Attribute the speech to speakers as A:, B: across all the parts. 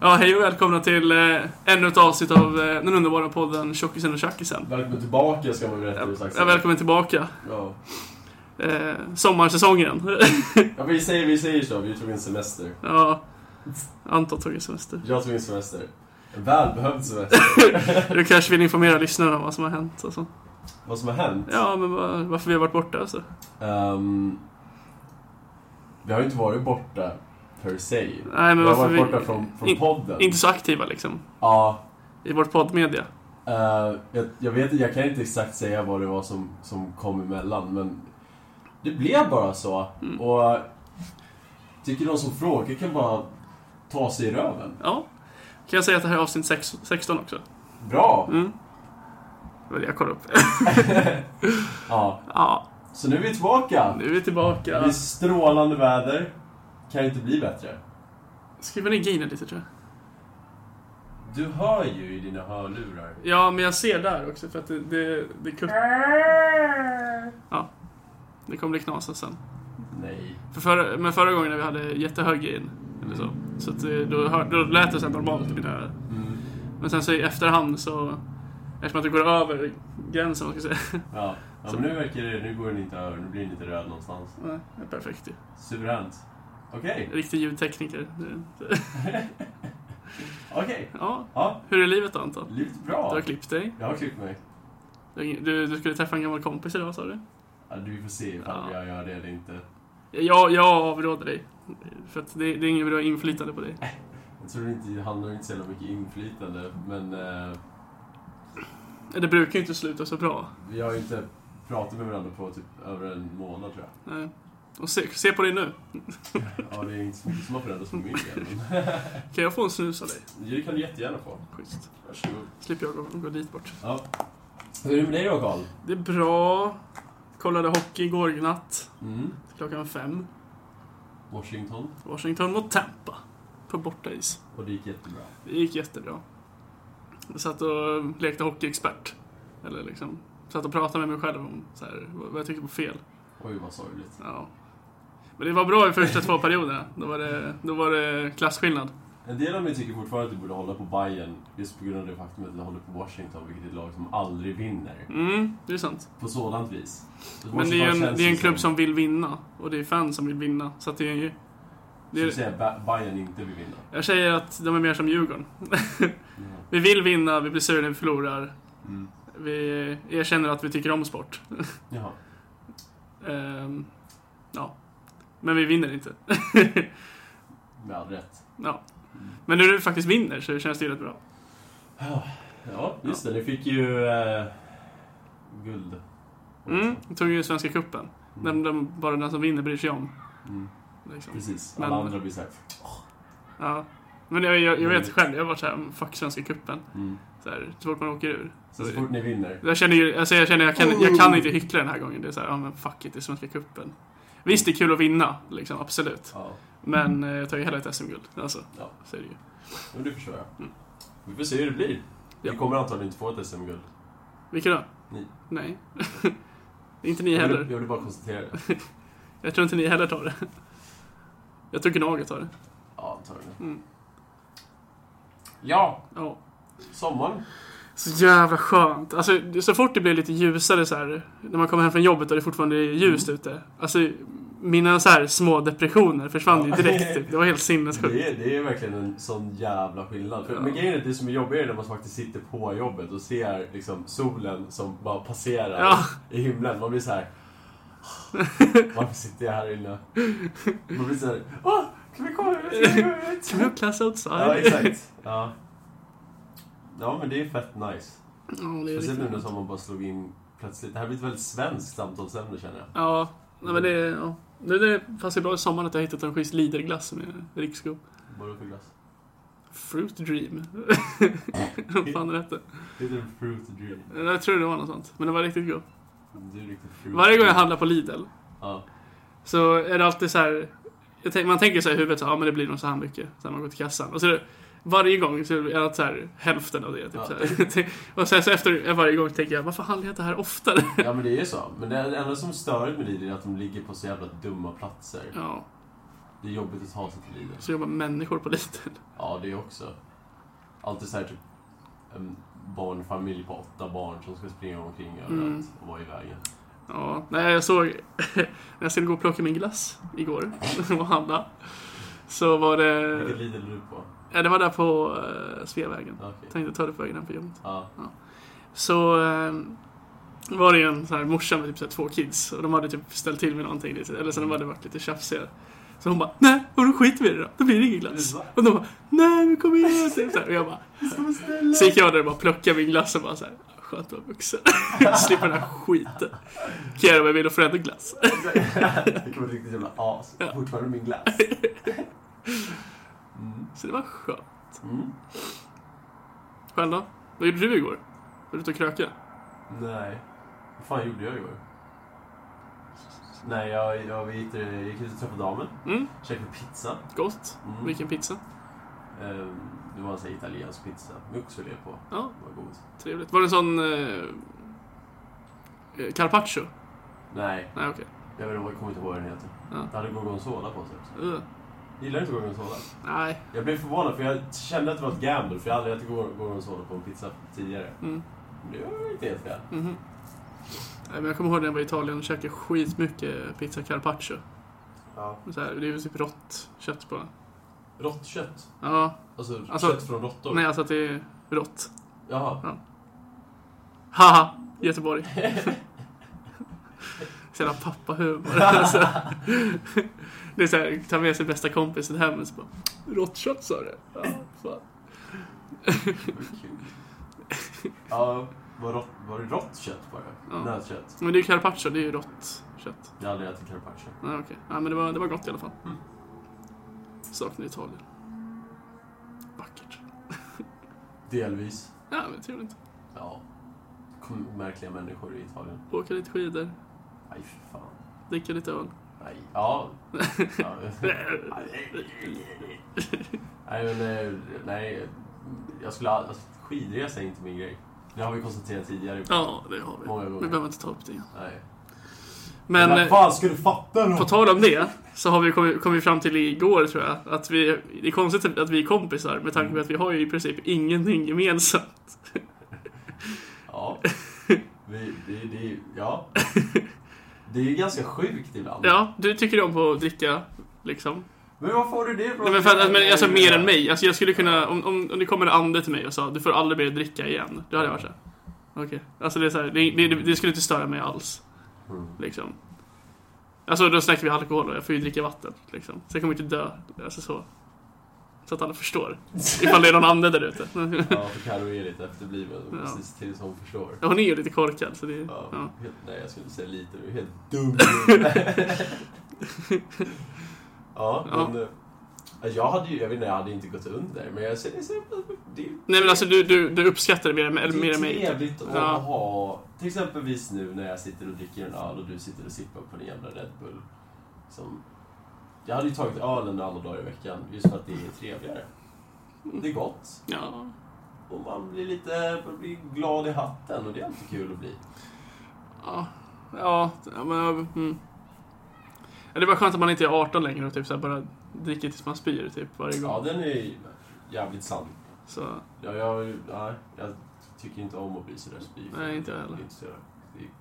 A: Ja, hej och välkomna till eh, ännu ett avsnitt av eh, den underbara podden Tjockisen och Tjackisen.
B: Välkommen tillbaka ska man väl rättare sagt
A: Ja,
B: säga.
A: välkommen tillbaka.
B: Ja.
A: Eh, sommarsäsongen.
B: ja, vi säger, vi säger så. Vi tog en semester.
A: ja, Anton tog en semester.
B: Jag tog en semester. En välbehövd semester.
A: Du kanske vill informera lyssnarna om vad som har hänt och så.
B: Vad som har hänt?
A: Ja, men va- varför vi har varit borta alltså.
B: Ehm, vi har ju inte varit borta per se.
A: Nej, men
B: vi har
A: varför
B: varit
A: vi...
B: borta från, från
A: in-
B: podden.
A: Inte så aktiva liksom.
B: Ja,
A: I vårt poddmedia.
B: eh, jag, jag vet jag kan inte exakt säga vad det var som, som kom emellan, men det blev bara så.
A: Mm.
B: Och tycker de som frågar kan bara ta sig i röven.
A: Ja. Kan jag säga att det här är avsnitt sex- 16 också?
B: Bra!
A: Mm. Det var det jag kollade upp.
B: Ja,
A: Ja,
B: så nu är vi tillbaka.
A: nu är vi
B: Det
A: tillbaka.
B: är strålande väder. Kan inte bli bättre.
A: Skriva ner gainen lite tror jag.
B: Du hör ju i dina hörlurar.
A: Ja, men jag ser där också för att det, det, det kutt... Ja. Det kommer bli knasigt sen.
B: Nej.
A: För förra, men förra gången när vi hade jättehög gain, eller så, så att eh, då, hör, då lät det så här normalt i mina öron.
B: Mm.
A: Men sen så i efterhand så, eftersom att det går över gränsen, vad ska jag säga.
B: Ja. ja men nu verkar det... Nu går den inte över. Nu blir den inte röd någonstans.
A: Nej, det är perfekt ju.
B: Suveränt. Okej.
A: Riktig ljudtekniker. Det-
B: Okej.
A: Ja,
B: Ja.
A: hur är livet då Anton?
B: Livet är
A: Du har
B: bra.
A: klippt dig.
B: Jag har klippt mig.
A: Du, du, du skulle träffa en gammal kompis idag sa du?
B: Ja, du får se ifall
A: Ja.
B: jag gör det eller inte.
A: Jag, jag avråder dig. För att det, det är ingen bra inflytande på dig.
B: Jag tror inte det handlar inte så jävla mycket inflytande. Men eh,
A: Det brukar ju inte sluta så bra.
B: vi har ju inte pratat med varandra på typ över en månad tror jag.
A: Nej. Och se, se på dig nu.
B: Ja, det är inte så mycket som har förändrats för min del. men-
A: Kan jag få en snus av dig?
B: Det kan du jättegärna få.
A: Schysst.
B: Varsågod.
A: Slipper jag gå, gå dit bort.
B: Ja. Hur är det med dig då, Karl?
A: Det är bra. Kollade hockey igår natt.
B: Mm.
A: Klockan fem.
B: Washington.
A: Washington mot Tampa. På bortais.
B: Och det gick jättebra.
A: Det gick jättebra. Jag satt och lekte hockeyexpert. Eller liksom, satt och pratade med mig själv om så här, vad vad jag tyckte var fel.
B: Oj, vad sorgligt.
A: Ja. Men det var bra i första två perioderna. Då var det, då var det klasskillnad.
B: En del av mig tycker fortfarande att du borde hålla på Bayern just på grund av det faktum att du håller på Washington, vilket är ett lag som aldrig vinner.
A: Mm, det är sant.
B: På sådant vis.
A: Men det är ju en,
B: Washington
A: det är en
B: känns
A: klubb som vill vinna. Och det är fans som vill vinna. Så att det är ju... Det
B: Skulle
A: är,
B: säga Ba- Bayern inte vill vinna.
A: jag säger att de är mer som Djurgården. vi vill vinna, vi blir sura när vi förlorar.
B: Mm.
A: Vi erkänner att vi tycker om sport.
B: Jaha.
A: Ehm, ja. Men vi vinner inte.
B: Med all rätt.
A: ja. Men nu när vi faktiskt vinner så känns det ju rätt bra.
B: Ja, just det. Ni fick ju eh, guld.
A: Mm, vi tog ju Svenska Cupen. Den, den, bara den som vinner bryr sig om.
B: Mm.
A: Liksom.
B: Precis. Alla
A: Men-
B: andra blir såhär...
A: Ja. Men jag, jag, jag vet
B: Möjligt.
A: själv, jag har varit såhär, fuck Svenska Cupen.
B: Mm.
A: Så, här, så fort man åker ur.
B: Så, så fort ni vinner.
A: Jag känner ju, alltså jag känner, jag kan, jag
B: Oh.
A: kan inte hyckla den här gången. Det är såhär, ja men fuck it, det är Svenska Cupen. Visst, det är kul att vinna, liksom, absolut.
B: Ja.
A: Men eh, jag tar ju hellre ett SM-guld. Alltså,
B: Mm. Ja.
A: så är det ju.
B: Men det förstår jag. Vi får se hur det blir.
A: Mm. Ja.
B: Vi kommer antagligen inte få ett SM-guld.
A: Vilka då?
B: Ni.
A: Nej. inte ni
B: Jag ville,
A: heller.
B: jag ville bara konstatera det.
A: Jag tror inte ni heller tar det. Jag tror Gnaget tar det.
B: Ja, antagligen.
A: Mm.
B: Ja,
A: Ja.
B: sommaren.
A: Så jävla skönt. Alltså, det- så fort det blir lite ljusare så här, när man kommer hem från jobbet och det fortfarande är ljust
B: Mm.
A: ute. Alltså, mina så här små depressioner försvann ju
B: Ja.
A: direkt. Typ. Det var helt sinnessjukt.
B: Det är, det är verkligen en sån jävla skillnad. För,
A: Ja.
B: Men grejen är att det som är jobbigare är när man faktiskt sitter på jobbet och ser liksom, solen som bara passerar
A: Ja.
B: i himlen. Man blir så här. Varför sitter jag här inne? Man blir så här. Åh, kan vi komma ut? Kan vi komma ut?
A: Blue class outside.
B: Ja, exakt. Ja. ja, men det är fett nice.
A: Ja, det är
B: Speciellt nu
A: riktigt.
B: när sommaren bara slog in plötsligt. Det här blir ett väldigt svenskt samtalsämne känner jag.
A: Ja, nej, men det... Ja. Nu när det passar bra i sommar att jag har hittat en schysst Liderglass som är riksgod.
B: Vad är det för glass?
A: Fruit Dream. Vad fan är det?
B: Heter den typ Fruit Dream?
A: Jag tror det var något sånt. Men det var riktigt god.
B: Det är riktigt fruit
A: Varje gång jag
B: dream.
A: handlar på Lidl
B: Ja.
A: så är det alltid så här. Jag tänk, man tänker så här i huvudet, så, ja men det blir nog så här mycket. Sen man går till kassan. Och så är det, varje gång så är det alltid så här, hälften av det. Typ,
B: Ja.
A: så här. Och sen så efter varje gång tänker jag, varför handlar jag inte här oftare?
B: ja, men det är ju så. Men det enda som stör med Lidl är att de ligger på så jävla dumma platser.
A: Ja.
B: Det är jobbigt att ta sig till Lidl.
A: Så jobbar människor på Lidl.
B: Ja, det också. Alltid så här typ en barnfamilj på åtta barn som ska springa omkring överallt
A: Mm.
B: och vara i vägen.
A: Ja, nej, jag såg när jag skulle gå och plocka min glass igår och handla. Så var
B: Vilket
A: det...
B: Lidl är du på?
A: Ja, det var där på eh, Sveavägen.
B: Okej.
A: Tänkte ta det på vägen hem för jämt.
B: Ja.
A: Så eh, var det ju en sån här morsa med typ så här två kids och de hade typ ställt till med någonting. lite- Eller så de hade varit lite tjafsiga. Så hon bara Nej, och då skiter vi i det då. Då blir det ingen glass.
B: Va?
A: Och de bara Nej, vi kommer igen. Typ så här. Och jag bara
B: Vi ska beställa!
A: Så gick jag där och bara plockade min glass och bara såhär, skönt att vara vuxen. Slipper den här skiten. Kan göra vad jag vill och får ändå glass.
B: Det kommer ett riktigt jävla as.
A: Ja.
B: Fortfarande min glass. Mm.
A: Så det var skönt.
B: Mm.
A: Själv då? Vad gjorde du igår? Var du ute och kröka?
B: Nej. Vad fan gjorde jag igår? Nej, jag, jag, vet inte, jag gick ut och träffade damen.
A: Mm,
B: Käkade pizza.
A: gott.
B: Mm.
A: Vilken pizza.
B: Ehm, det var en sån här italiensk pizza. Med oxfilé på.
A: Ja,
B: Det var god.
A: trevligt. Var det en sån... Eh, eh, carpaccio?
B: Nej,
A: Nej, okej.
B: jag, vet, inte- jag kommer inte ihåg vad den heter.
A: Ja.
B: Det hade gorgonzola på sig också.
A: Ugh.
B: Gillar du inte gorgonzola?
A: Nej.
B: Jag blev förvånad för jag kände att det var ett gamble för jag har aldrig ätit gor- gorgonzola på en pizza tidigare.
A: Mm.
B: Men det var inte helt fel.
A: mhm. Nej, men jag kommer ihåg när jag var i Italien och käkade skitmycket pizza carpaccio.
B: Ja.
A: Så här, det är ju typ rått kött på den.
B: Rått kött?
A: Ja,
B: Alltså,
A: Alltså-
B: kött från råttor?
A: nej alltså att det är rått.
B: Jaha.
A: Haha, Göteborg. Så jävla pappahumor. Alltså. Det är såhär, ta med sig bästa kompisen hem och så bara Råttkött sa du? Ja, fan.
B: Kul. ja, var, rått, var det rått kött bara?
A: Ja.
B: Nötkött?
A: Men det är ju carpaccio, det är ju rått kött.
B: Jag har aldrig ätit carpaccio.
A: Nej, okej. Nej, men det var, det var gott i alla fall.
B: Mm.
A: Saknar Italien. Vackert.
B: Delvis.
A: Ja, men trevligt.
B: Ja. Kom, märkliga människor i Italien.
A: Åka lite skidor,
B: Aj, för fan.
A: dricka lite öl.
B: Aj. Ja. ja. Mm. nej, men, eh, nej. Jag skulle all- alltså, Skidresa är inte min grej. Det har vi konstaterat tidigare.
A: Ja, det har vi.
B: Många
A: Vi
B: gånger.
A: behöver inte ta upp det igen.
B: Nej.
A: Men... eh,
B: vad fan ska du fatta
A: På
B: då?
A: tal om det så har vi kommit, kommit fram till igår tror jag att vi, det är konstigt typ att vi är kompisar med tanke på att vi har ju i princip ingenting gemensamt.
B: Ja. Vi, det, det, ja. Det är ganska sjukt ibland.
A: Ja, du tycker om på att dricka liksom.
B: Men var får du det ifrån?
A: Nej, men för att, men, alltså mer än mig. Alltså jag skulle kunna, om, om, om det kommer en ande till mig och sa du får aldrig mer dricka igen. Då hade jag varit såhär. Okej. Alltså det är så här, det, det, det skulle inte störa mig alls.
B: Mm.
A: Liksom. Alltså då snackar vi alkohol och jag får ju dricka vatten. Liksom. Så jag kommer inte dö. Alltså så. Så att alla förstår. Ifall det är någon ande där ute.
B: Ja, för Carro är lite efterbliven.
A: Ja.
B: Precis tills hon förstår.
A: Ja, Hon är ju lite korkad, så det...
B: Ja,
A: Ja.
B: Helt, nej, jag skulle säga lite. Du är helt dum. ja,
A: Ja.
B: men... eh, Jag hade ju, jag vet inte, jag hade inte gått under. Men jag säger så det,
A: Nej men alltså, du, du, du uppskattar det mer, än-
B: det
A: eller mer
B: är
A: än mig.
B: trevligt att
A: Ja.
B: ha, till exempelvis nu när jag sitter och dricker en öl och du sitter och sippar på din jävla Red Bull. Som, jag hade ju tagit ölen alla dagar i veckan, just för att det är trevligare. Det är gott.
A: Ja.
B: Och man blir lite man blir glad i hatten och det är alltid kul att bli.
A: Ja. Ja, ja, men... ja, Mm. Ja, Det var skönt att man inte är 18 längre och typ så här bara dricker tills man spyr typ varje gång.
B: Ja, den är ju jävligt sann.
A: Så,
B: Jag, jag, nej, jag tycker inte om att bli sådär spydig.
A: Nej, inte jag heller.
B: Det är inte sådär. Det-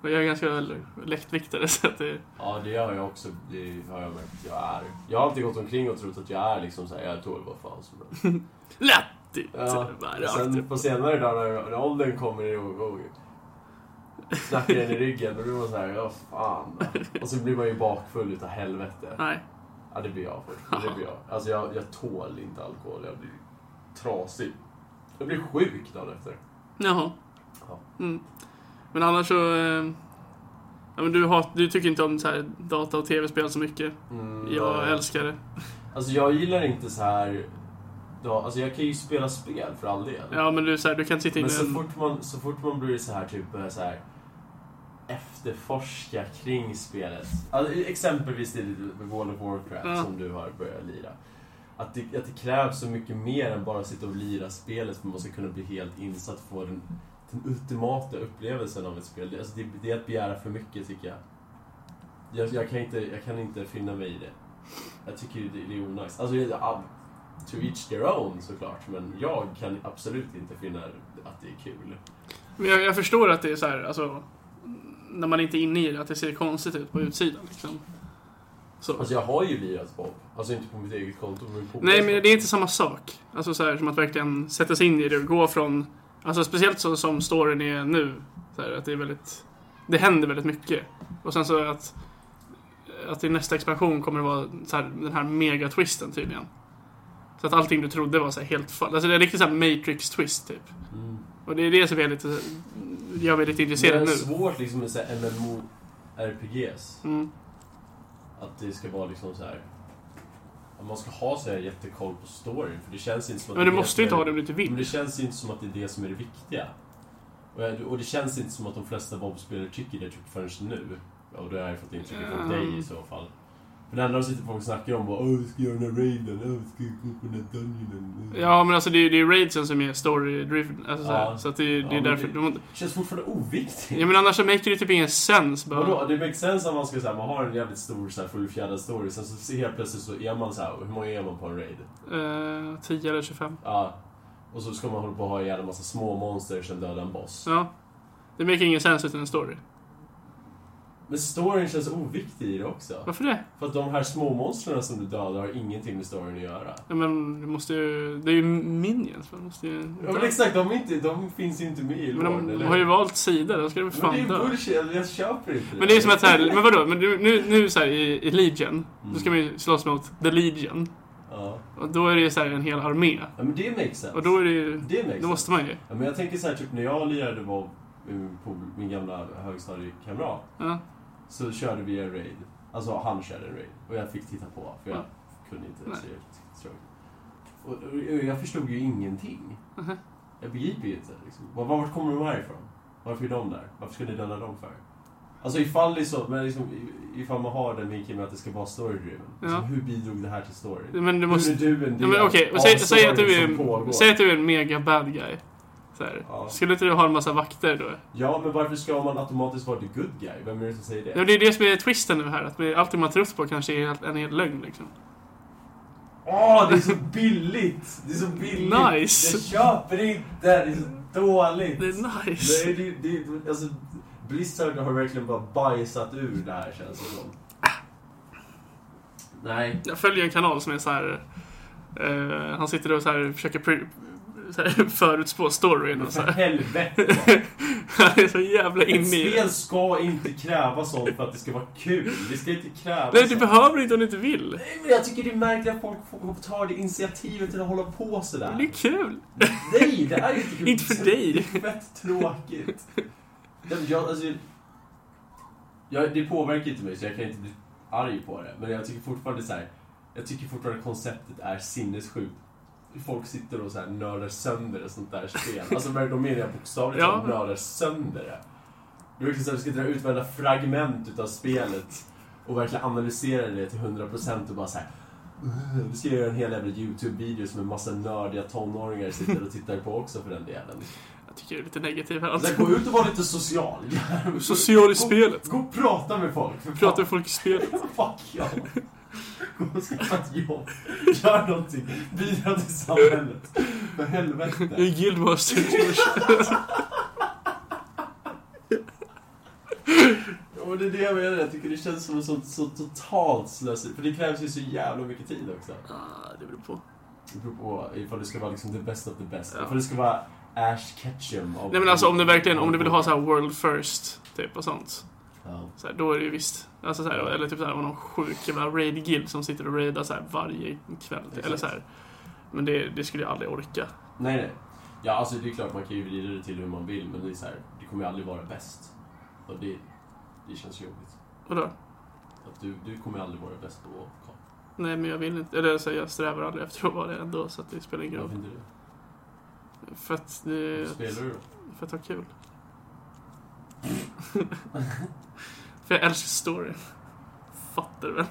A: och jag är ganska väl lättviktare så att det...
B: Ja, det har jag också. Det har jag märkt att jag är. Jag har alltid gått omkring och trott att jag är liksom såhär, jag tål vad fan som helst.
A: Lättigt!
B: Ja,
A: Bara
B: och
A: rakt
B: sen
A: upp.
B: på senare dagar, när åldern kommer i och och- knackar den i ryggen, då blir man såhär, ja fan. Och så blir man ju bakfull utav helvete.
A: Nej.
B: Ja, det blir jag först. Det blir jag. Alltså, jag, jag tål inte alkohol. Jag blir trasig. Jag blir sjuk dagen efter.
A: Jaha.
B: Ja.
A: Mm. Men annars så... eh, Ja, men du, hat, du tycker inte om så här data och tv-spel så mycket.
B: Mm,
A: Jag
B: nej.
A: älskar det.
B: Alltså, jag gillar inte så här... Ja, alltså, jag kan ju spela spel för all del.
A: Ja, men du, så här, du kan sitta inne
B: Men så
A: en-
B: fort, man, så fort man blir så här, typ börjar så här efterforska kring spelet. Alltså, exempelvis i World of Warcraft
A: Ja.
B: som du har börjat lira. Att det, att det krävs så mycket mer än bara att sitta och lira spelet för man ska kunna bli helt insatt och få den, den ultimata upplevelsen av ett spel. Det- Alltså, det, det är att begära för mycket tycker jag. Jag, jag, kan, inte, jag kan inte finna mig i det. Jag tycker det det är onajs. Alltså, jag- ja, to each their own såklart, men jag kan absolut inte finna att det är kul.
A: Men jag, jag förstår att det är så här, alltså, när man inte är inne i det, att det ser konstigt ut på utsidan. Liksom. Så.
B: Alltså jag har ju lirat Bob. Alltså inte på mitt eget konto, men på
A: Nej, men det är inte samma sak. Alltså så här, som att verkligen sätta sig in i det och gå från... Alltså speciellt så som storyn är nu. Så här, att det är väldigt... Det händer väldigt mycket. Och sen så att... Att i nästa expansion kommer det vara så här, den här megatwisten tydligen. Så att allting du trodde var så här helt fall. Alltså det är riktigt så här Matrix-twist typ.
B: Mm.
A: Och det är det som jag är lite... Jag är lite
B: Det
A: intresserad
B: är
A: nu.
B: svårt liksom med så här MMO-RPGs.
A: Mm.
B: Att det ska vara liksom så här. att Man ska ha så här jättekoll på storyn, för det känns inte som att
A: Men du
B: det är
A: måste ju inte
B: som är-
A: ha det om du inte
B: Men
A: vill.
B: det känns ju inte som att det är det som är det viktiga. Och, jag, och det känns inte som att de flesta Bob-spelare tycker det typ förrän nu. Och det har jag fått intrycket från
A: Ja.
B: dig i så fall. För det enda de sitter på och snackar om var Åh, vi ska göra den här raiden, Åh, vi ska gå på den här dungeonen.
A: Ja, men alltså det är det är ju raidsen som är story-driven. Alltså, så, här.
B: Ja.
A: så att det, är- det är
B: Ja, men
A: därför...
B: det-
A: du måste-
B: Det känns fortfarande oviktigt.
A: Ja men annars så make det typ ingen sens bara.
B: Vadå? Det makes sense om man ska säga man har en jävligt stor så här, fullfjädrad story, sen så ser helt plötsligt så är man så här, hur många är man på en raid?
A: Eh, 10 eller 25.
B: Ja. Och så ska man hålla på och ha ihjäl en massa små monster och sen döda en boss.
A: Ja. Det make ingen sens utan en story.
B: Men storyn känns oviktig i det också.
A: Varför det?
B: För att de här små monstren som du dödar har ingenting med storyn att göra.
A: Ja men du måste ju... Det är ju minions. Man måste ju...
B: Ja, men exakt, de, är inte, de finns ju inte med i
A: Men de,
B: låren,
A: de
B: eller?
A: har ju valt sida, då ska de för
B: Men det är
A: fan
B: ju
A: dö.
B: bullshit, jag köper inte
A: Men det är som att så här, men vadå? Men du, nu, nu så här i, i Legion, då ska
B: Mm.
A: man ju slåss mot The Legion.
B: Ja.
A: Och då är det ju så här en hel armé.
B: ja, men det makes sense.
A: Och då är det ju...
B: Det makes
A: Då måste man ju.
B: Ja, men jag tänker så här, typ när jag lirade var min, pol- eh, min gamla högstadiekamrat
A: Ja.
B: så körde vi en raid. Alltså han körde en raid och jag fick titta på för jag
A: Ja.
B: kunde inte
A: Nej.
B: se tråkigt. Och, och jag förstod ju ingenting.
A: Mhm.
B: Jag begriper ju inte. Liksom. Var, var vart kommer de här ifrån? Varför är de där? Varför ska ni döda dem för? Alltså ifall, liksom, men liksom, i- ifall man har den vinkeln med att det ska vara story-driven.
A: Ja.
B: Liksom, hur bidrog det här till storyn?
A: Men du måste...
B: Hur är du en
A: Ja,
B: del
A: men okej,
B: av
A: säg, säg, att du
B: storyn som
A: är,
B: pågår?
A: säg att du är en mega bad guy. Så här.
B: Ja.
A: Skulle inte du ha en massa vakter då?
B: Ja, men varför ska man automatiskt vara the good guy? Vem är det som säger det?
A: Ja, men det är det som är twisten nu här, att vi- allt det man trott på kanske är helt- en hel lögn liksom.
B: Åh, det är så billigt! Det är så billigt!
A: Nice.
B: Jag köper det inte! Det är så dåligt!
A: Det är nice!
B: Nej, det, det, alltså, Blizzard har verkligen bara bajsat ur det här känns det som. Nej.
A: Jag följer en kanal som är så här. eh, han sitter och så här försöker pre- så här, förutspå storyn
B: Men
A: och så
B: för
A: här.
B: helvete!
A: Han är så jävla
B: Ett
A: inne i det.
B: spel ska inte kräva sånt för att det ska vara kul. Det ska inte kräva
A: Nej, du
B: sånt.
A: behöver inte om du inte vill.
B: Nej, men jag tycker det är märkligt att folk får- tar det initiativet till att hålla på sådär.
A: Det är kul!
B: Nej, det är inte kul.
A: Inte för dig!
B: Det är fett tråkigt. Ja, men Jag, alltså, jag, det påverkar inte mig, så jag kan inte bli arg på det. Men jag tycker fortfarande så här, jag tycker fortfarande konceptet är sinnessjukt. Folk sitter och så här nördar sönder ett sånt där spel. Alltså men då menar jag bokstavligt
A: Ja.
B: talat nördar sönder det. Det är verkligen så att du ska dra ut varenda fragment utav spelet och verkligen analysera det till 100% och bara så här. "Ugh, Vi ska göra en hel jävla YouTube-video som en massa nördiga tonåringar sitter och tittar på också för den delen.
A: Jag tycker du är lite negativ här
B: Alltså,
A: alltså.
B: gå ut och var lite social.
A: Social i
B: Gå-
A: spelet.
B: Gå och prata med folk. För
A: Prata med folk i spelet.
B: fan, Fuck ja. Gå och skaffa ett jobb. Gör någonting. Bidra till samhället. För
A: Jag är
B: helvete.
A: guildmaster.
B: Ja, men det är det jag menar. Jag tycker det känns som en sån, så totalt slöseri. För det krävs ju så jävla mycket tid också.
A: Ah, det beror på.
B: Det beror på ifall det ska vara liksom the best of the best.
A: Ja.
B: Ifall det ska vara Ash Ketchum. av-
A: Nej men alltså om du verkligen, om du vill ha så här world first, typ och sånt.
B: Ja.
A: Så här, då är det ju visst. Alltså så här, eller typ så här, om någon sjuk jävla raid guild som sitter och raidar så här varje kväll. typ,
B: Exakt.
A: Eller så här. Men det, det skulle jag aldrig orka.
B: Nej, nej. Ja, alltså det är klart man kan ju vrida det till hur man vill, men det är så här, det kommer ju aldrig vara bäst. Och det, det känns jobbigt.
A: Vadå?
B: Att du, du kommer ju aldrig vara bäst på Karl.
A: Nej men jag vill inte. Eller så här, jag strävar aldrig efter att vara det ändå så att det Eh, spelar ingen
B: Varför
A: roll.
B: inte det?
A: För att
B: Varför
A: det...
B: Spelar du då?
A: För att ha kul. för jag älskar storyn. Fattar du väl?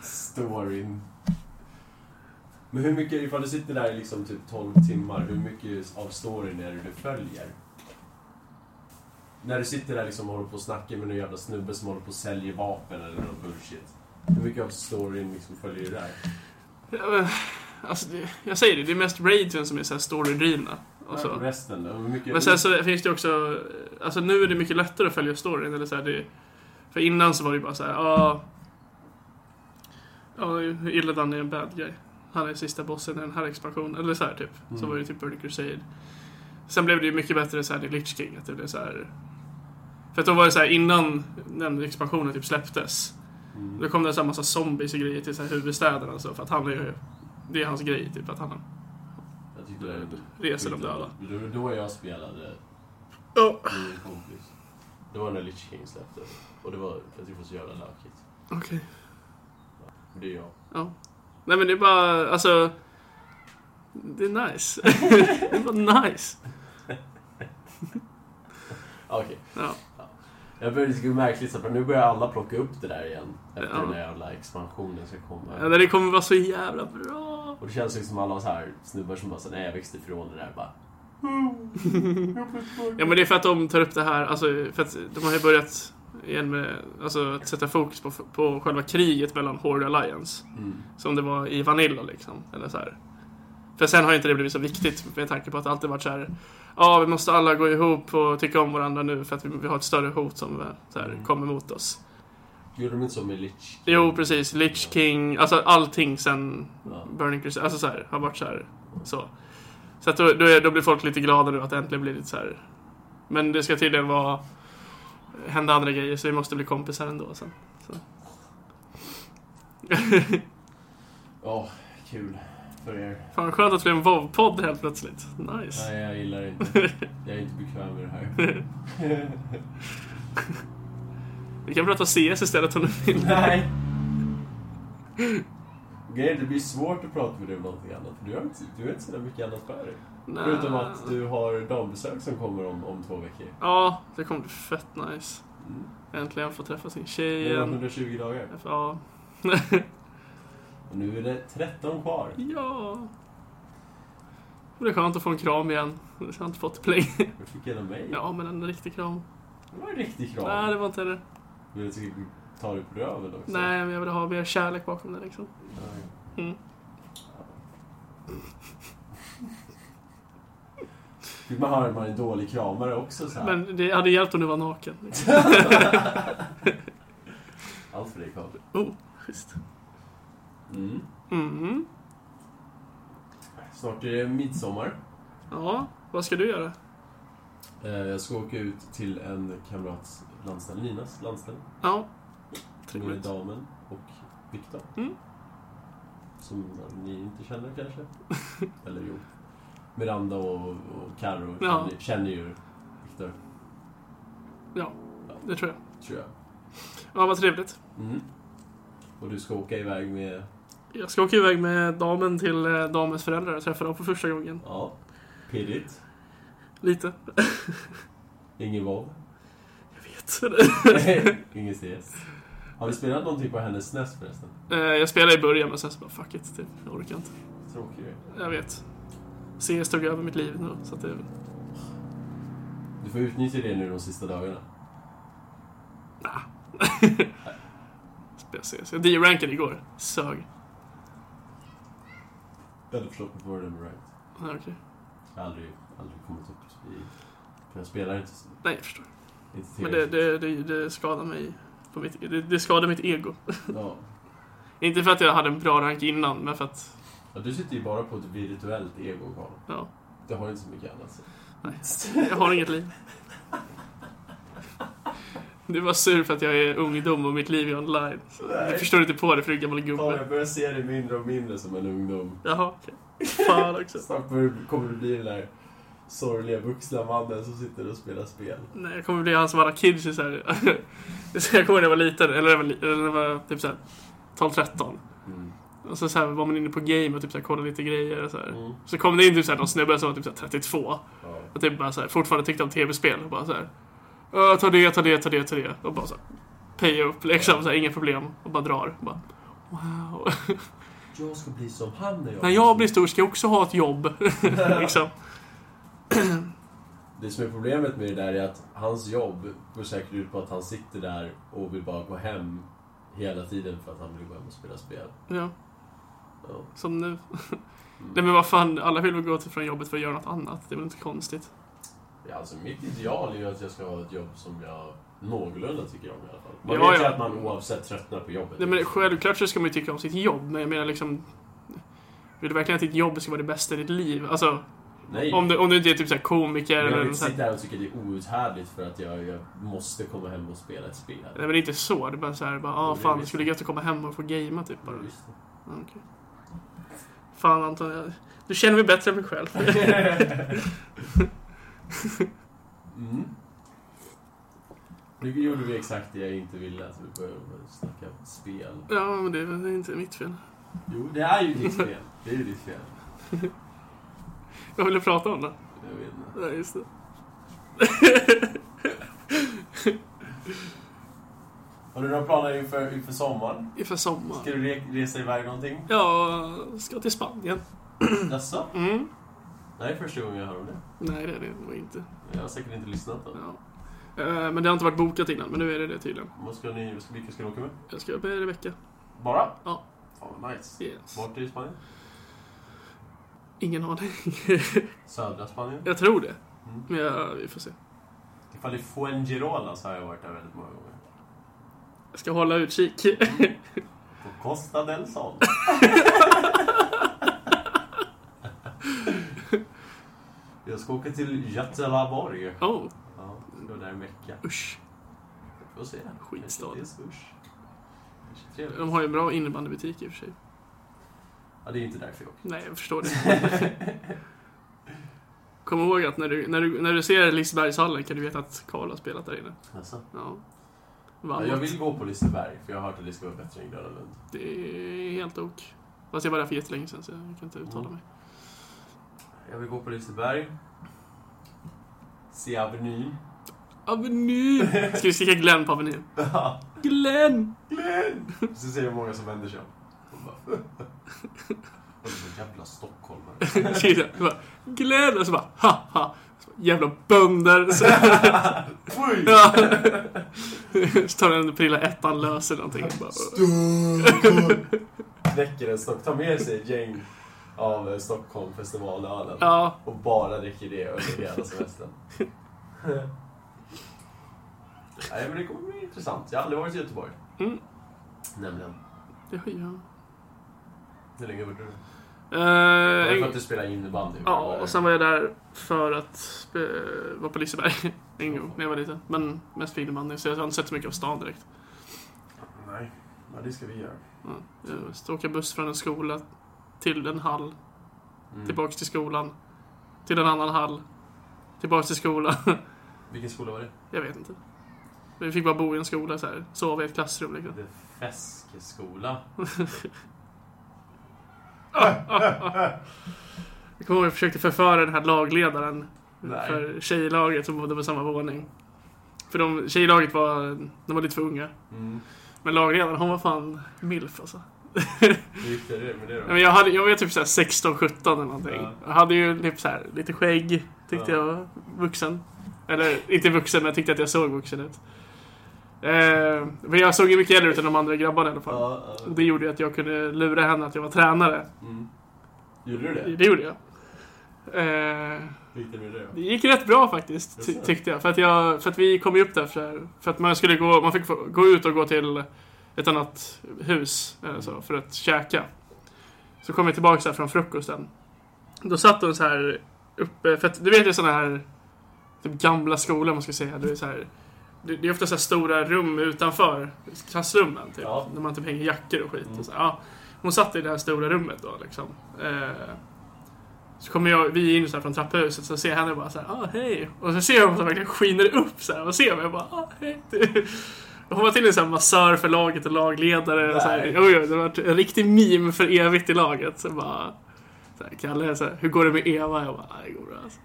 B: Storyn. Men hur mycket, ifall du sitter där i liksom typ 12 timmar, hur mycket av storyn är det du följer? När du sitter där liksom och håller på och snackar med någon jävla snubbe som håller på och säljer vapen eller någon bullshit. Hur mycket av storyn liksom följer det där?
A: Ja, men, Alltså, det, jag säger det, det är mest raidsen som är så här storydrivna. Och så.
B: Resten då? Hur mycket...
A: Men sen så finns det ju också... Alltså nu är det mycket lättare att följa storyn. Eller så här, det, för innan så var det ju bara så här, ja... Ja, Illidan är en bad guy. Han är sista bossen i den här expansionen. Eller så här typ. Så
B: Mm.
A: var det typ Burning Crusade. Sen blev det ju mycket bättre så här i Lich King. Att det blev så här... För att då var det så här innan den expansionen typ släpptes.
B: Mm.
A: Då kom det så här massa zombies och grejer till så här huvudstäderna och så. För att han är ju... Det är hans grej typ. Att han
B: Jag tyckte det var-
A: reser de döda.
B: Det var då jag spelade
A: Ja.
B: med en kompis. Det var när Lich King släppte. Och det var, jag tyckte det var så jävla lökigt.
A: Okej.
B: Det är jag.
A: Nej men det är bara, alltså... Det är nice. det är bara nice.
B: Ah, Okej.
A: Ja.
B: Jag börjar tycka det är märkligt, så här, för nu börjar alla plocka upp det där igen. Efter
A: Ja.
B: den där jävla expansionen ska komma.
A: Ja, Det kommer vara så jävla bra.
B: Och det känns liksom alla så här snubbar som bara så, nej jag växte ifrån det där bara.
A: Ja men det är för att de tar upp det här, alltså för att de har ju börjat igen med alltså, att sätta fokus på, på själva kriget mellan Horde och Alliance.
B: Mm.
A: Som det var i Vanilla liksom. Eller så här. För sen har ju inte det blivit så viktigt med tanke på att det alltid varit så här. Ja, vi måste alla gå ihop och tycka om varandra nu för att vi, vi har ett större hot som eh, så här,
B: Mm.
A: kommer mot oss.
B: Gjorde de inte så med Lich? King?
A: Jo, precis. Lich King, alltså allting sen
B: Ja.
A: Burning Crusade, alltså så här, har varit så här. Så, så att då, då, är, då blir folk lite glada nu att det äntligen blir lite så här. Men det ska tydligen vara, eh, hända andra grejer så vi måste bli kompisar ändå sen. Så.
B: Ja, kul för er.
A: Fan skönt att det blev en WoW-podd helt plötsligt. Nice.
B: Nej, jag gillar det inte. Jag är inte bekväm med det här.
A: Vi kan prata CS istället om du vill.
B: Nej! Grejen är att det blir svårt att prata med dig om någonting annat. för Du har inte, du har inte så där mycket annat för dig.
A: Nej.
B: Förutom att du har dambesök som kommer om, om två veckor.
A: Ja, det kommer bli fett nice.
B: Mm.
A: Äntligen få träffa sin
B: Det
A: tjej
B: är
A: igen.
B: 120 dagar.
A: Ja.
B: Och nu är det 13 kvar.
A: Ja. Det är skönt att få en kram igen. Det har jag inte fått på länge.
B: Du fick en av mig.
A: Ja, men en riktig kram.
B: Det var en riktig kram.
A: Nej, det var inte det.
B: Vill du typ ta dig på röven också?
A: Nej, men jag ville ha mer kärlek bakom det liksom.
B: Nej.
A: Mm.
B: Fick man höra att man är en dålig kramare också så här?
A: Men det hade hjälpt om du var naken. Liksom.
B: Allt för dig Karl.
A: Oh, schysst.
B: Mm.
A: Mm.
B: Snart är det midsommar.
A: Ja, vad ska du göra?
B: Eh, Jag ska åka ut till en kamrats landställe, Linas landställe.
A: Ja,
B: Med
A: trevligt.
B: damen och Viktor.
A: Mm.
B: Som ni inte känner kanske? Eller jo. Miranda och, och Carro
A: Ja.
B: känner, känner ju Viktor,
A: Det tror jag.
B: tror jag.
A: Ja, vad trevligt.
B: Mm. Och du ska åka iväg med...
A: Jag ska åka iväg med damen till eh, damens föräldrar och träffa dem för första gången.
B: Ja, pirrigt.
A: Lite.
B: Ingen vov.
A: Jag vet.
B: Ingen CS. Har vi spelat någonting på hennes NES förresten?
A: Eh, jag spelade i början, men sen så bara fuck it. typ. Jag orkar inte.
B: Tråkig grej.
A: Jag vet. CS tog över mitt liv nu, så att det...
B: Du får utnyttja det nu de sista dagarna.
A: Nah. Spela CS. Jag D-rankade igår. Sög.
B: Eller förstått på Word and Right.
A: Ja, okej.
B: Jag har aldrig, aldrig kommit upp i... För jag spelar inte, så-
A: Nej, jag förstår.
B: inte
A: Men det, det, det, det skadar mig. På mitt, det, det skadar mitt ego.
B: Ja.
A: Inte för att jag hade en bra rank innan, men för att...
B: ja. Du sitter ju bara på ett virtuellt ego, Karl.
A: Ja.
B: Du har inte så mycket annat. Så.
A: Nej. Jag har inget liv. Du var sur för att jag är ungdom och mitt liv är online. Du förstår inte på det, för du är gammal
B: Karl,
A: gubbe.
B: jag börjar se dig mindre och mindre som en ungdom.
A: Jaha, okej. Fan också.
B: Snart kommer- kommer du bli den där sorgliga vuxna mannen som sitter och spelar spel.
A: Nej, jag kommer bli han som alla kids är såhär... jag kommer ihåg när jag var liten, eller när jag var, li- eller när jag var typ såhär 12-13. Och så, så här var man inne på game och typ så här kollade lite grejer och så här.
B: Mm.
A: Så kom det in typ så här någon snubbe som var typ så här 32
B: Ja.
A: och typ bara så här, fortfarande tyckte om tv-spel och bara så här. "Ö, Ta det, ta det, ta det, ta det. Och bara så här, pay upp liksom, så här, inga problem. Och bara drar. Och bara, wow.
B: Jag ska bli som han när jag,
A: När jag blir stor ska jag också ha ett jobb. liksom.
B: Det som är problemet med det där är att hans jobb går säkert ut på att han sitter där och vill bara gå hem hela tiden för att han vill gå hem och spela spel.
A: Ja,
B: Ja.
A: som nu. Nej men vad fan, alla vill väl gå till från jobbet för att göra något annat. Det är väl inte konstigt?
B: Ja, alltså mitt ideal är ju att jag ska ha ett jobb som jag någorlunda tycker om i alla fall. Man
A: Ja,
B: vet ju
A: ja.
B: att man oavsett tröttnar på jobbet.
A: Nej men självklart så ska man ju tycka om sitt jobb, men jag menar liksom... Vill du verkligen att ditt jobb ska vara det bästa i ditt liv? Alltså,
B: Nej.
A: om du, om du inte är typ såhär komiker
B: Men jag
A: eller
B: vill
A: något
B: inte
A: sånt.
B: sitta där och tycka det är outhärdligt för att jag, jag måste komma hem och spela ett spel.
A: Nej men det är inte så, det är bara såhär, bara, ah
B: Nej,
A: fan, det
B: visst.
A: skulle gött att komma hem och få gamea typ
B: Ja,
A: bara.
B: visst.
A: Ja, okej. Fan Anton, jag, du känner mig bättre än mig själv.
B: Mm. Nu gjorde vi exakt det jag inte ville, att vi började med att snacka om spel.
A: ja men det är väl inte mitt fel.
B: Jo, det är ju ditt fel. Det är ju ditt fel.
A: Jag ville prata om det.
B: Jag vet inte.
A: Ja, just det.
B: Har du några planer inför, inför sommaren?
A: Inför sommaren.
B: Ska du re- resa iväg någonting?
A: Jag ska till Spanien.
B: Jaså?
A: Mm.
B: Det här är första gången jag hör om det.
A: Nej, det är det nog inte.
B: Jag har säkert inte lyssnat på det.
A: Ja. Eh, Men det har inte varit bokat innan, men nu är det det tydligen.
B: Vad ska ni, vad ska- vilka ska ni åka med?
A: Jag ska upp i Rebecka.
B: Bara?
A: Ja.
B: Fan vad nice.
A: Yes.
B: Vart i Spanien?
A: Ingen aning.
B: Södra Spanien?
A: Jag tror det.
B: Mm.
A: Men jag, vi får se.
B: Ifall det är Fuengirola så har jag varit där väldigt många gånger.
A: Jag ska hålla utkik.
B: På Costa del Sol. jag ska åka till Göteborg.
A: Oh,
B: Ja, det var där en vecka.
A: usch.
B: Vi får se.
A: Skitstad.
B: Kanske inte är så usch. Kanske trevligt.
A: De har ju en bra innebandybutik i och för sig.
B: Ja, det är inte därför jag åker.
A: Nej, jag förstår det. Kom ihåg att när du, när du, när du ser Lisebergshallen kan du veta att Karl har spelat där inne.
B: Alltså.
A: Ja.
B: Ja,
A: Vann.
B: jag vill gå på Liseberg, för jag har hört att det ska vara bättre än Gröna Lund.
A: Det är helt ok. Fast jag var där för jättelänge sedan så jag kan inte uttala
B: Mm.
A: mig.
B: Jag vill gå på Liseberg. Se Avenyn.
A: Avenyn! Ska vi skrika Glenn på Avenyn?
B: Ja,
A: Glenn!
B: Glenn! Så ser jag många som vänder sig om. De bara... Och så jävla stockholmare.
A: Tjena. Jag bara, Glenn! Och så bara ha ha. Så bara, Jävla bönder! Så,
B: Oj!
A: ja. så tar den prilla ettan löser någonting. och Bara,
B: Stockholm! Väcker en stock. Tar med sig ett gäng av eh, Stockholm festivalölen.
A: ja.
B: Och bara dricker det under hela semestern. Nej, men det kommer bli intressant. Jag har aldrig varit i Göteborg.
A: Mm.
B: Nämligen.
A: Det har jag.
B: Hur länge var du där?
A: Eh,
B: Var det
A: en-
B: för att du spelade innebandy?
A: Ja, och sen var jag där för att eh, vara på Liseberg en gång när jag var liten. Men mest för innebandy, så jag har inte sett så mycket av stan direkt.
B: Nej, ja, det ska vi göra.
A: Ja, jag ska åka buss från en skola till en hall,
B: Mm.
A: tillbaks till skolan, till en annan hall, tillbaks till skolan.
B: Vilken skola var det?
A: jag vet inte. Men Vi fick bara bo i en skola så här, sova i ett klassrum liksom.
B: The Feskeskola.
A: Jag kommer ihåg jag försökte förföra den här lagledaren
B: Nej.
A: för tjejlaget som bodde på samma våning. För de, tjejlaget var, de var lite för unga.
B: Mm.
A: Men lagledaren, hon var fan milf alltså.
B: Hur gick det med det
A: Nej,
B: då?
A: Men jag, hade, jag var typ såhär 16-17 eller någonting.
B: Ja.
A: Jag hade ju typ såhär, lite skägg, tyckte
B: Ja.
A: jag var vuxen. Eller inte vuxen, men jag tyckte att jag såg vuxen ut. Eh, men jag såg ju mycket äldre ut än de andra grabbarna i alla fall.
B: Ja, ja.
A: Och det gjorde ju att jag kunde lura henne att jag var tränare.
B: Mm. Gjorde du det?
A: Det gjorde jag. Eh,
B: Hur gick det med det då?
A: det gick rätt bra faktiskt, ty-
B: Jaså?
A: tyckte jag. För att, jag, för att vi kom ju upp där för, så här- för att man skulle gå, man fick få- gå ut och gå till ett annat hus eh, så, för att käka. Så kom vi tillbaka så här från frukosten. Då satt de så här uppe, för att du vet ju sådana här typ gamla skolor man ska säga. Du är så här, det det är ofta så här stora rum utanför klassrummen. Typ,
B: Ja.
A: När man typ hänger jackor och skit.
B: Mm.
A: Och så här, ja. Hon satt i det här stora rummet då liksom. Eh, så kommer jag, vi in så här från trapphuset så ser jag henne bara så här, ah hej. Och så ser jag hon så verkligen skiner upp så här, och ser mig och bara, ah hej. Och Hon var till och med så här massör för laget och lagledare. Och så här,
B: Nej.
A: oj, oj, det har varit en riktig meme för evigt i laget. Så bara, så här, Kalle, så här, hur går det med Eva? Jag bara, "Ah, det går bra alltså.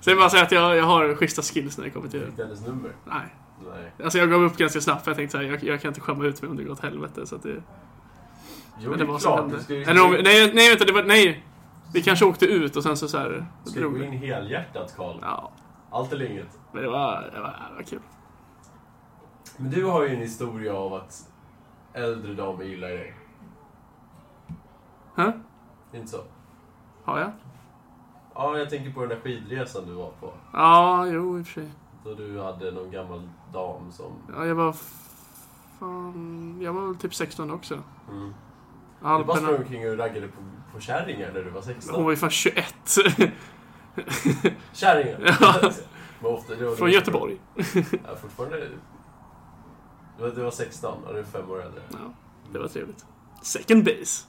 A: Sen bara säga att jag, jag har schyssta skills när det kommer till
B: Fick du hennes nummer?
A: Nej.
B: Nej.
A: Alltså jag gav upp ganska snabbt för jag tänkte så här, jag, jag kan inte skämma ut mig om det går åt helvete. Så att det, men
B: Jo, det
A: det
B: är
A: var
B: klart.
A: som hände.
B: Du ska ju
A: Eller om, nej, nej, vänta, det var, nej. Vi kanske åkte ut och sen så, så här,
B: du ska ju
A: drog
B: gå
A: vi.
B: in helhjärtat, Karl.
A: Ja,
B: Allt eller inget.
A: men det var, det var, det var kul.
B: Men du har ju en historia av att äldre damer gillar dig.
A: Hä?
B: Inte så?
A: Har jag?
B: Ja, jag tänker på den där skidresan du var på.
A: Ja, jo i och för sig.
B: Då du hade någon gammal dam som...
A: Ja, jag var... Fan, jag var väl typ 16 också.
B: Mm. Du bara
A: Alperna.
B: sprang omkring och raggade på, på kärringar när du var 16.
A: Hon var ju fan 21.
B: Kärringar!
A: Ja.
B: Men ofta, det var
A: Från Göteborg.
B: Ja, fortfarande... Du var- du var 16 och du är fem år äldre.
A: Ja, det var trevligt. Second base.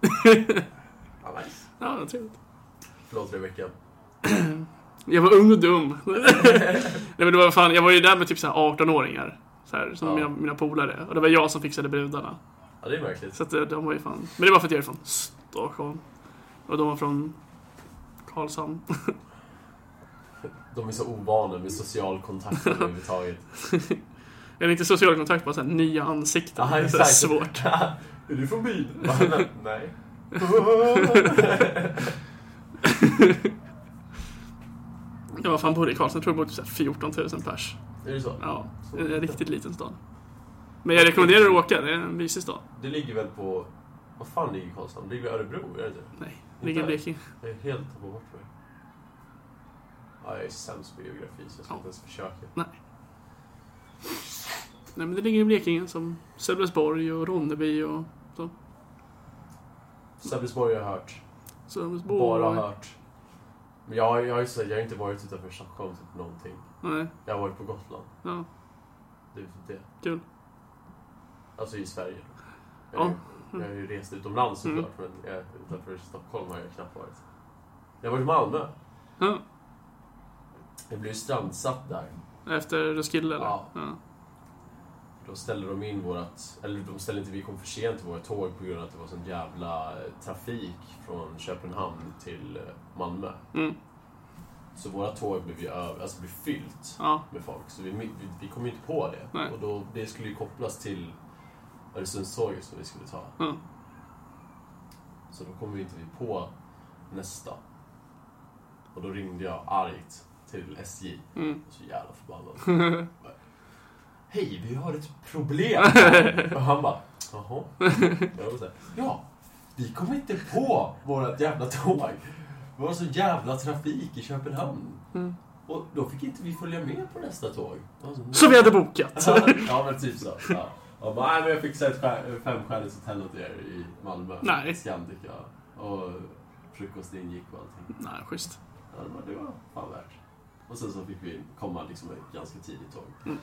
B: Ja, nice.
A: Ja, det var trevligt.
B: Förlåt Rebecka.
A: Jag var ung och dum. Nej, men det var fan, jag var ju där med typ så här 18-åringar. Så här, som
B: Ja.
A: mina, mina polare. Och det var jag som fixade brudarna.
B: Ja, det är märkligt.
A: Så att eh, de var ju fan... Men det var för att jag är från Stockholm. Och de var från Karlshamn.
B: De är så ovana med social kontakt överhuvudtaget.
A: Eller inte social kontakt, bara så här nya ansikten.
B: Aha,
A: det är så här
B: exakt.
A: svårt.
B: Är du från byn? Nej.
A: Jag var fan bodde i Karlshamn, jag tror det bodde typ så här 14 000 pers.
B: är det så?
A: Ja, en en riktigt liten stad. Men jag rekommenderar att åka, det är en mysig stad.
B: Det ligger väl på... Vad fan ligger Karlshamn? Det ligger i Örebro, är det inte?
A: Nej, ligger i Blekinge.
B: Jag är helt tappat bort mig. Ja, jag är sämst på geografi så jag ska
A: Ja.
B: inte ens försöka.
A: Nej, men det ligger i Blekinge som Sölvesborg och Ronneby och så.
B: Sölvesborg har jag hört.
A: Sölvesborg.
B: Bara hört. Men jag, har- jag, har ju så- jag har inte varit utanför Stockholm typ någonting.
A: Nej,
B: Jag har varit på Gotland.
A: ja,
B: Det är typ det.
A: kul.
B: Alltså i Sverige. Jag,
A: Ja.
B: har ju- jag har ju rest utomlands
A: Mm.
B: såklart, men jag, utanför Stockholm har jag knappt varit. Jag har varit i Malmö.
A: Ja,
B: Jag blev ju strandsatt där.
A: efter Roskilde eller?
B: Ja.
A: ja.
B: Då ställde de in vårat, eller de ställde inte, vi kom för sent till våra tåg på grund av att det var sån jävla eh, trafik från Köpenhamn till eh, Malmö.
A: Mm,
B: Så våra tåg blev ju över, alltså blev fyllt
A: ja.
B: med folk. Så vi, vi, vi kom ju inte på det.
A: Nej.
B: Och då, det skulle ju kopplas till Öresundståget som vi skulle ta.
A: Ja.
B: Så då kom vi inte vi på nästa. Och då ringde jag argt till SJ.
A: Mm.
B: Så jävla förbannad. Bara, Hej, vi har ett problem. Och han bara, jaha? Jag var så här, ja, vi kom inte på vårat jävla tåg. Det var så jävla trafik i Köpenhamn.
A: Mm.
B: Och då fick inte vi följa med på nästa tåg. Jag var
A: Som vi hade bokat!
B: ja, men typ så. Ja. Jag bara, nej men jag fixar ett skär- femstjärnigt hotell åt er i Malmö.
A: Nej.
B: Scandic, ja. Och frukost ingick och allting.
A: Nej, schysst.
B: Ja, det var, det var fan värt. Och sen så fick vi komma liksom ett ganska tidigt tåg.
A: Mm.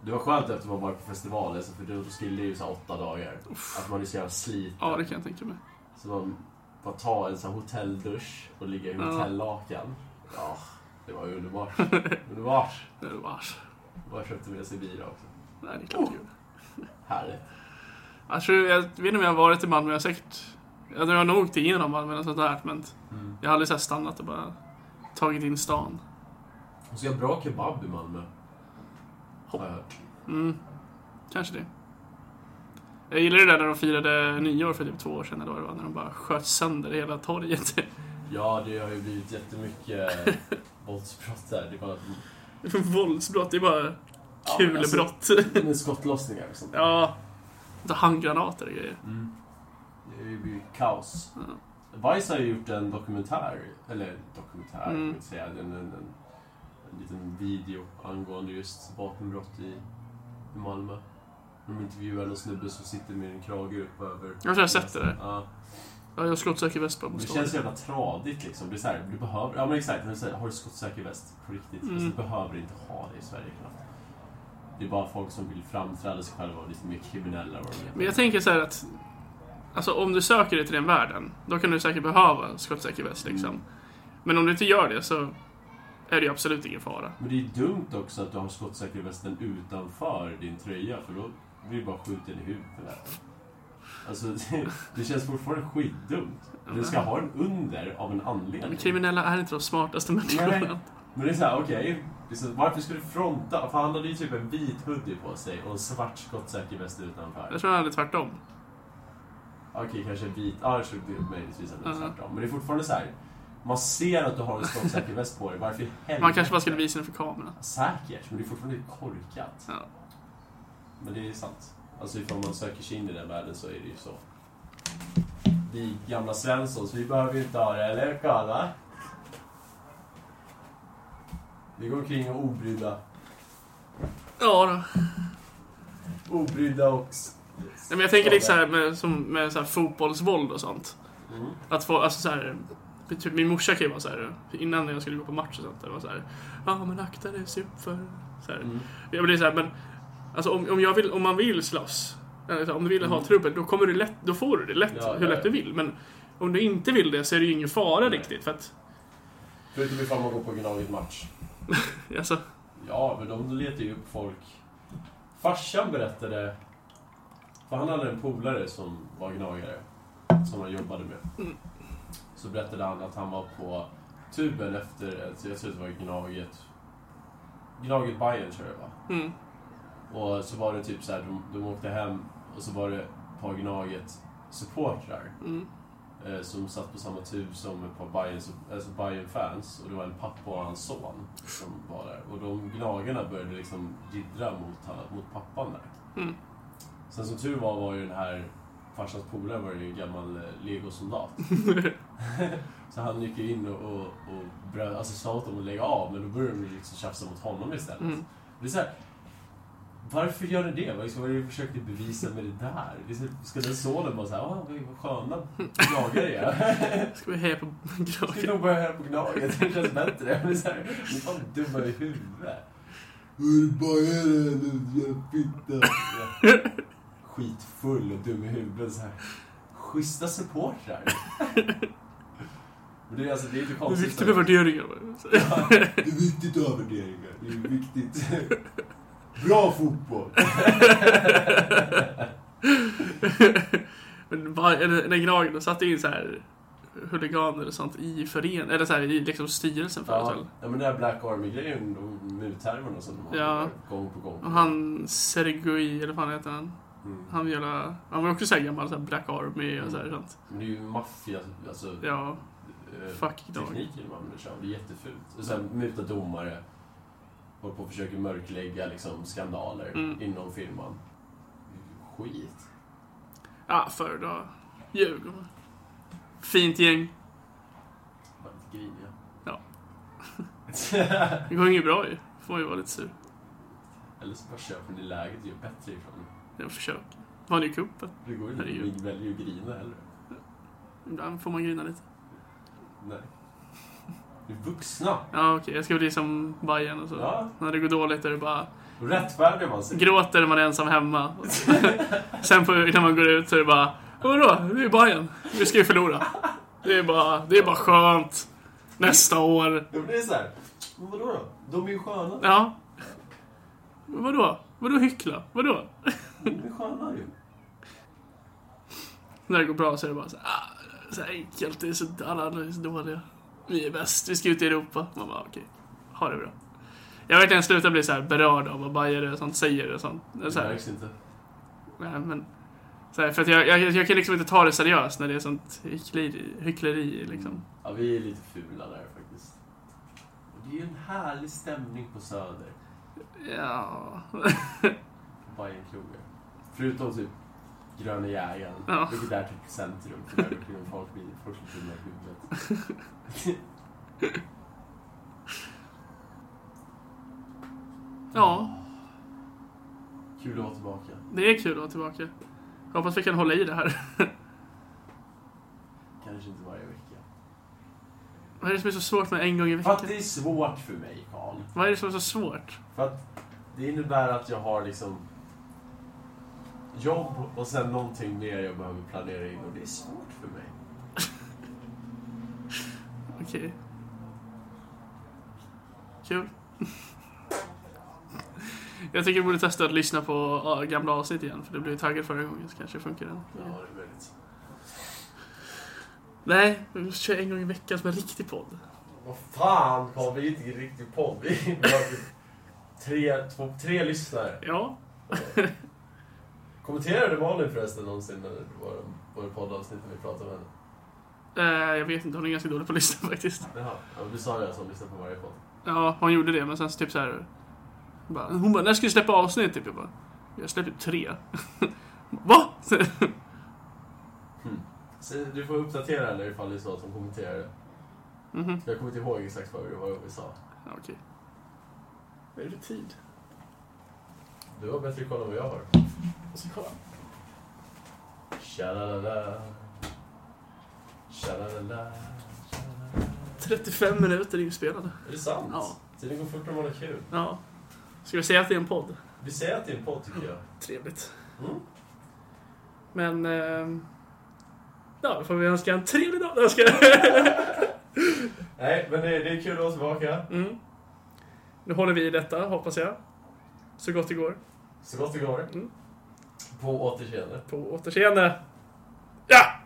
B: Det var skönt efter man varit på festivalen, så för då skulle det ju så här åtta dagar. Att man är så jävla sliten.
A: Ja, det kan jag tänka mig.
B: Så man bara tar en sån här hotelldusch och ligger i
A: Ja.
B: hotellakan. Ja, det var ju underbart. underbart.
A: Det var vars.
B: Bara köpte med sig bira också.
A: Nej, det är
B: Oh.
A: klart det gjorde.
B: Härligt.
A: Jag tror, jag vet inte om jag har varit i Malmö, jag har säkert... Jag har nog åkt igenom Malmö eller sånt där, men
B: Mm.
A: jag har aldrig så här stannat och bara tagit in stan.
B: Och så jag bra kebab i Malmö. Har jag hört.
A: Mm, kanske det. Jag gillar det där när de firade nyår för typ två år sedan, eller vad det var, när de bara sköt sönder hela torget.
B: Ja, det har ju blivit jättemycket våldsbrott där. Det är bara
A: Våldsbrott, det är bara
B: Ja, men alltså-
A: kulbrott.
B: med skottlossningar och sånt.
A: Ja, alltså handgranater och grejer.
B: Mm. Det har ju blivit kaos.
A: Ja.
B: Vice har ju gjort en dokumentär, eller dokumentär kan
A: Mm.
B: man inte säga, en, en, en, en liten video angående just vapenbrott i, i Malmö. De intervjuar någon snubbe som sitter med en krage upp över...
A: Jag har sett det där.
B: Ja.
A: Ja, jag skottsäker väst på
B: Det
A: bokstavligen.
B: känns så jävla tradigt liksom. Det är så här, du behöver, ja men exakt, du säger, har du skottsäker väst på riktigt?
A: Mm.
B: Alltså, du behöver inte ha det i Sverige knappt. Det är bara folk som vill framträda sig själva och lite mer kriminella. Vad de
A: Men
B: heter.
A: jag tänker så här att... Alltså om du söker dig till den världen, då kan du säkert behöva skottsäker väst liksom.
B: Mm.
A: Men om du inte gör det så är det ju absolut ingen fara.
B: Men det är ju dumt också att du har skottsäker västen utanför din tröja för då blir du bara skjuten i huvudet. Alltså, det, det känns fortfarande skitdumt. Du ska ha den under av en
A: Men
B: anledning.
A: kriminella är inte de smartaste
B: Nej.
A: människorna.
B: Men det är såhär, okej. liksom, Varför skulle du fronta? För han hade ju typ en vit hoodie på sig och en svart skottsäker väst utanför.
A: Jag tror han hade tvärtom.
B: Okej, kanske en vit. Ja, ah, det är möjligtvis att det är
A: Mhm.
B: tvärtom. Men det är fortfarande så här. Man ser att du har en skottsäker väst på dig. Varför i helvete?
A: Man kanske bara skulle visa den för kameran.
B: Säkert, men det är fortfarande korkat.
A: Ja.
B: Men det är sant. Alltså ifall man söker sig in i den världen så är det ju så. Vi gamla Svenssons, vi behöver ju inte ha det, eller Karl? va? Vi går omkring och obrydda.
A: Ja då.
B: Obrydda och... s-
A: Nej, men jag tänker lite så här med, som, med så här fotbollsvåld och sånt.
B: Mm.
A: Att få, alltså så här, typ min morsa kan ju vara så här, innan jag skulle gå på match och sånt, det var så här, ja men akta dig, se upp för... Så här.
B: Mm.
A: Jag blir så här, men alltså om, om, jag vill, om man vill slåss, eller så här, om du vill ha trubbel, då, kommer du lätt, då får du det lätt,
B: Mm. Ja,
A: hur
B: ja,
A: lätt du
B: ja.
A: vill. Men om du inte vill det så är det ju ingen fara
B: Nej.
A: riktigt, för att,
B: Förutom ifall man går på Gnaget match.
A: alltså,
B: Ja, men de letar ju upp folk. Farsan berättade... För han hade en polare som var gnagare. Som han jobbade med.
A: Mm.
B: Så berättade han att han var på tuben efter... ett- Jag tror att det var Gnaget... Gnaget Bayern tror jag det var.
A: mm,
B: Och så var det typ så här, de, de åkte hem och så var det ett par Gnaget-supportrar
A: mm,
B: eh, som satt på samma tub som ett par Bayern, alltså Bayern fans och det var en pappa och hans son som var där. Och de gnagarna började liksom jiddra mot, han- mot pappan där.
A: mm,
B: Sen som tur var var ju den här farsans polare var ju en gammal eh, legosoldat. så han gick ju in och, och, och bröt, alltså sa åt dem att lägga av men då började de ju liksom tjafsa mot honom istället.
A: mm.
B: Det är så här, varför gör ni det? Vad liksom, vad är det ni försökte bevisa med det där? Det är så, ska den sonen bara såhär, åh vad vad sköna gnagare ni är.
A: Ska vi heja på
B: Jag ska
A: Gnaget?
B: nog börja höra på Gnaget, det känns bättre. Men så här, ni är fan dumma i huvudet. Urbajare, du jävla fitta. Skitfull och dum i huvudet. Så här. Schyssta supportrar. Men det är alltså, det är inte
A: Det är
B: konstigt.
A: viktigt
B: så
A: med
B: här.
A: värderingar. bara. Så-
B: Ja, det är viktigt att ha värderingar. Det är viktigt. Bra fotboll!
A: Men var- eller- när Gnagen då satte in så här huliganer och sånt i föreningen, eller så här, i liksom styrelsen förut
B: Ja,
A: väl?
B: ja, men den här Black Army-grejen, de muthärvorna som de har
A: Ja.
B: gång på gång.
A: Och han Sergui, eller vad fan heter han?
B: Mm.
A: Han, jävla, han var också så här gammal så här Black Army och så här sånt.
B: Men det är ju maffia, alltså,
A: Ja,
B: Mm. eh,
A: fuck Gnagen.
B: tekniken man använder sig av. Det är jättefult. Och sen muta domare, håller på och försöker mörklägga liksom, skandaler
A: Mm.
B: inom firman. Skit.
A: Ja, föredrar Djurgården. Fint gäng.
B: Bara lite griniga.
A: Ja.
B: Ja.
A: Det går inget bra ju. Får man ju vara lite sur.
B: Eller så bara köper ni läget och gör bättre ifrån det.
A: Jag försöker. Vann ju cupen.
B: Det går ju
A: Herregud.
B: inte. Ni väljer ju att grina heller.
A: Ibland får man grina lite.
B: Nej. Ni är vuxna.
A: Ja, okej. Jag ska bli som Bayern och så.
B: Ja.
A: När det går dåligt är det bara
B: Då rättfärdigar man sig.
A: gråter när man är ensam hemma. Och Sen på, när man går ut så är det bara Vadå? Det är Bayern. Vi ska ju förlora. Det är bara, det är bara skönt. Nästa år.
B: Då blir det såhär, men vadå då? De är ju sköna.
A: Ja. Vadå? Vadå hyckla? Vadå?
B: De är sköna ju.
A: När det går bra så är det bara så, här, ah, så här enkelt. Det är så, alla andra är så dåliga. Vi är bäst. Vi ska ut i Europa. Man bara, okej. Ha det bra. Jag har verkligen slutat bli så här berörd av vad Bayern och sånt säger och sånt. Eller Så
B: Det
A: här,
B: märks inte.
A: nej, men, så här, för att jag, jag, jag kan liksom inte ta det seriöst när det är sånt hyckleri. hyckleri liksom.
B: Ja, vi är lite fula där faktiskt. Och Det är ju en härlig stämning på Söder.
A: Ja.
B: på Bajenkrogar. Förutom typ Gröna Jägaren.
A: Ja.
B: Vilket är typ centrum. För där går kring folk blir folk blir dumma i huvudet.
A: ja,
B: Kul att vara tillbaka.
A: det är kul att vara tillbaka. Jag hoppas vi kan hålla i det här.
B: Kanske inte varje vecka.
A: Vad är det som är så svårt med en gång i
B: För att
A: veckan?
B: det är svårt för mig, Karl.
A: Vad är det som är så svårt?
B: För att det innebär att jag har liksom jobb och sen någonting mer jag behöver planera in och det är svårt för mig.
A: Okej. Kul. Jag tycker vi borde testa att lyssna på ja, gamla avsnitt igen, för det blev ju taggad förra gången, så kanske det funkar den.
B: Ja, det är väldigt...
A: Nej, vi måste köra en gång i veckan som en riktig podd.
B: Vad fan har vi inte en riktig podd? Vi har typ tre, två, tre lyssnare.
A: Ja,
B: Kommenterade Malin förresten någonsin vår, vår poddavsnitt när vi pratade med henne?
A: Eh, jag vet inte, hon är ganska dålig på att lyssna faktiskt.
B: Jaha, ja, du sa det som lyssnar på varje podd.
A: Ja, hon gjorde det, men sen så typ så här. Bara, hon bara, när ska du släppa avsnitt? Typ. Jag bara, jag släpper tre. Va?
B: Så Du får uppdatera henne ifall det är så att hon kommenterar det.
A: Mhm,
B: Jag kommer inte ihåg exakt vad det var vi sa.
A: ja, okej. Vad är det för tid?
B: Du har bättre koll än vad jag har.
A: Jag ska Alltså, kolla.
B: Tja-la-la-la. Tja-la-la-la.
A: 35 minuter inspelade.
B: Är det sant?
A: Ja.
B: Tiden går fort när man har kul.
A: Ja. Ska vi säga att det är en podd?
B: Vi säger att det är en podd tycker jag.
A: Trevligt.
B: Mm.
A: Men... ehm, ja, då får vi önska en trevlig dag. Jag ska...
B: Nej, men det, det är kul att vara tillbaka.
A: mm. Nu håller vi i detta, hoppas jag. Så gott det går.
B: Så gott det går.
A: Mm.
B: På återseende.
A: På återseende. Ja!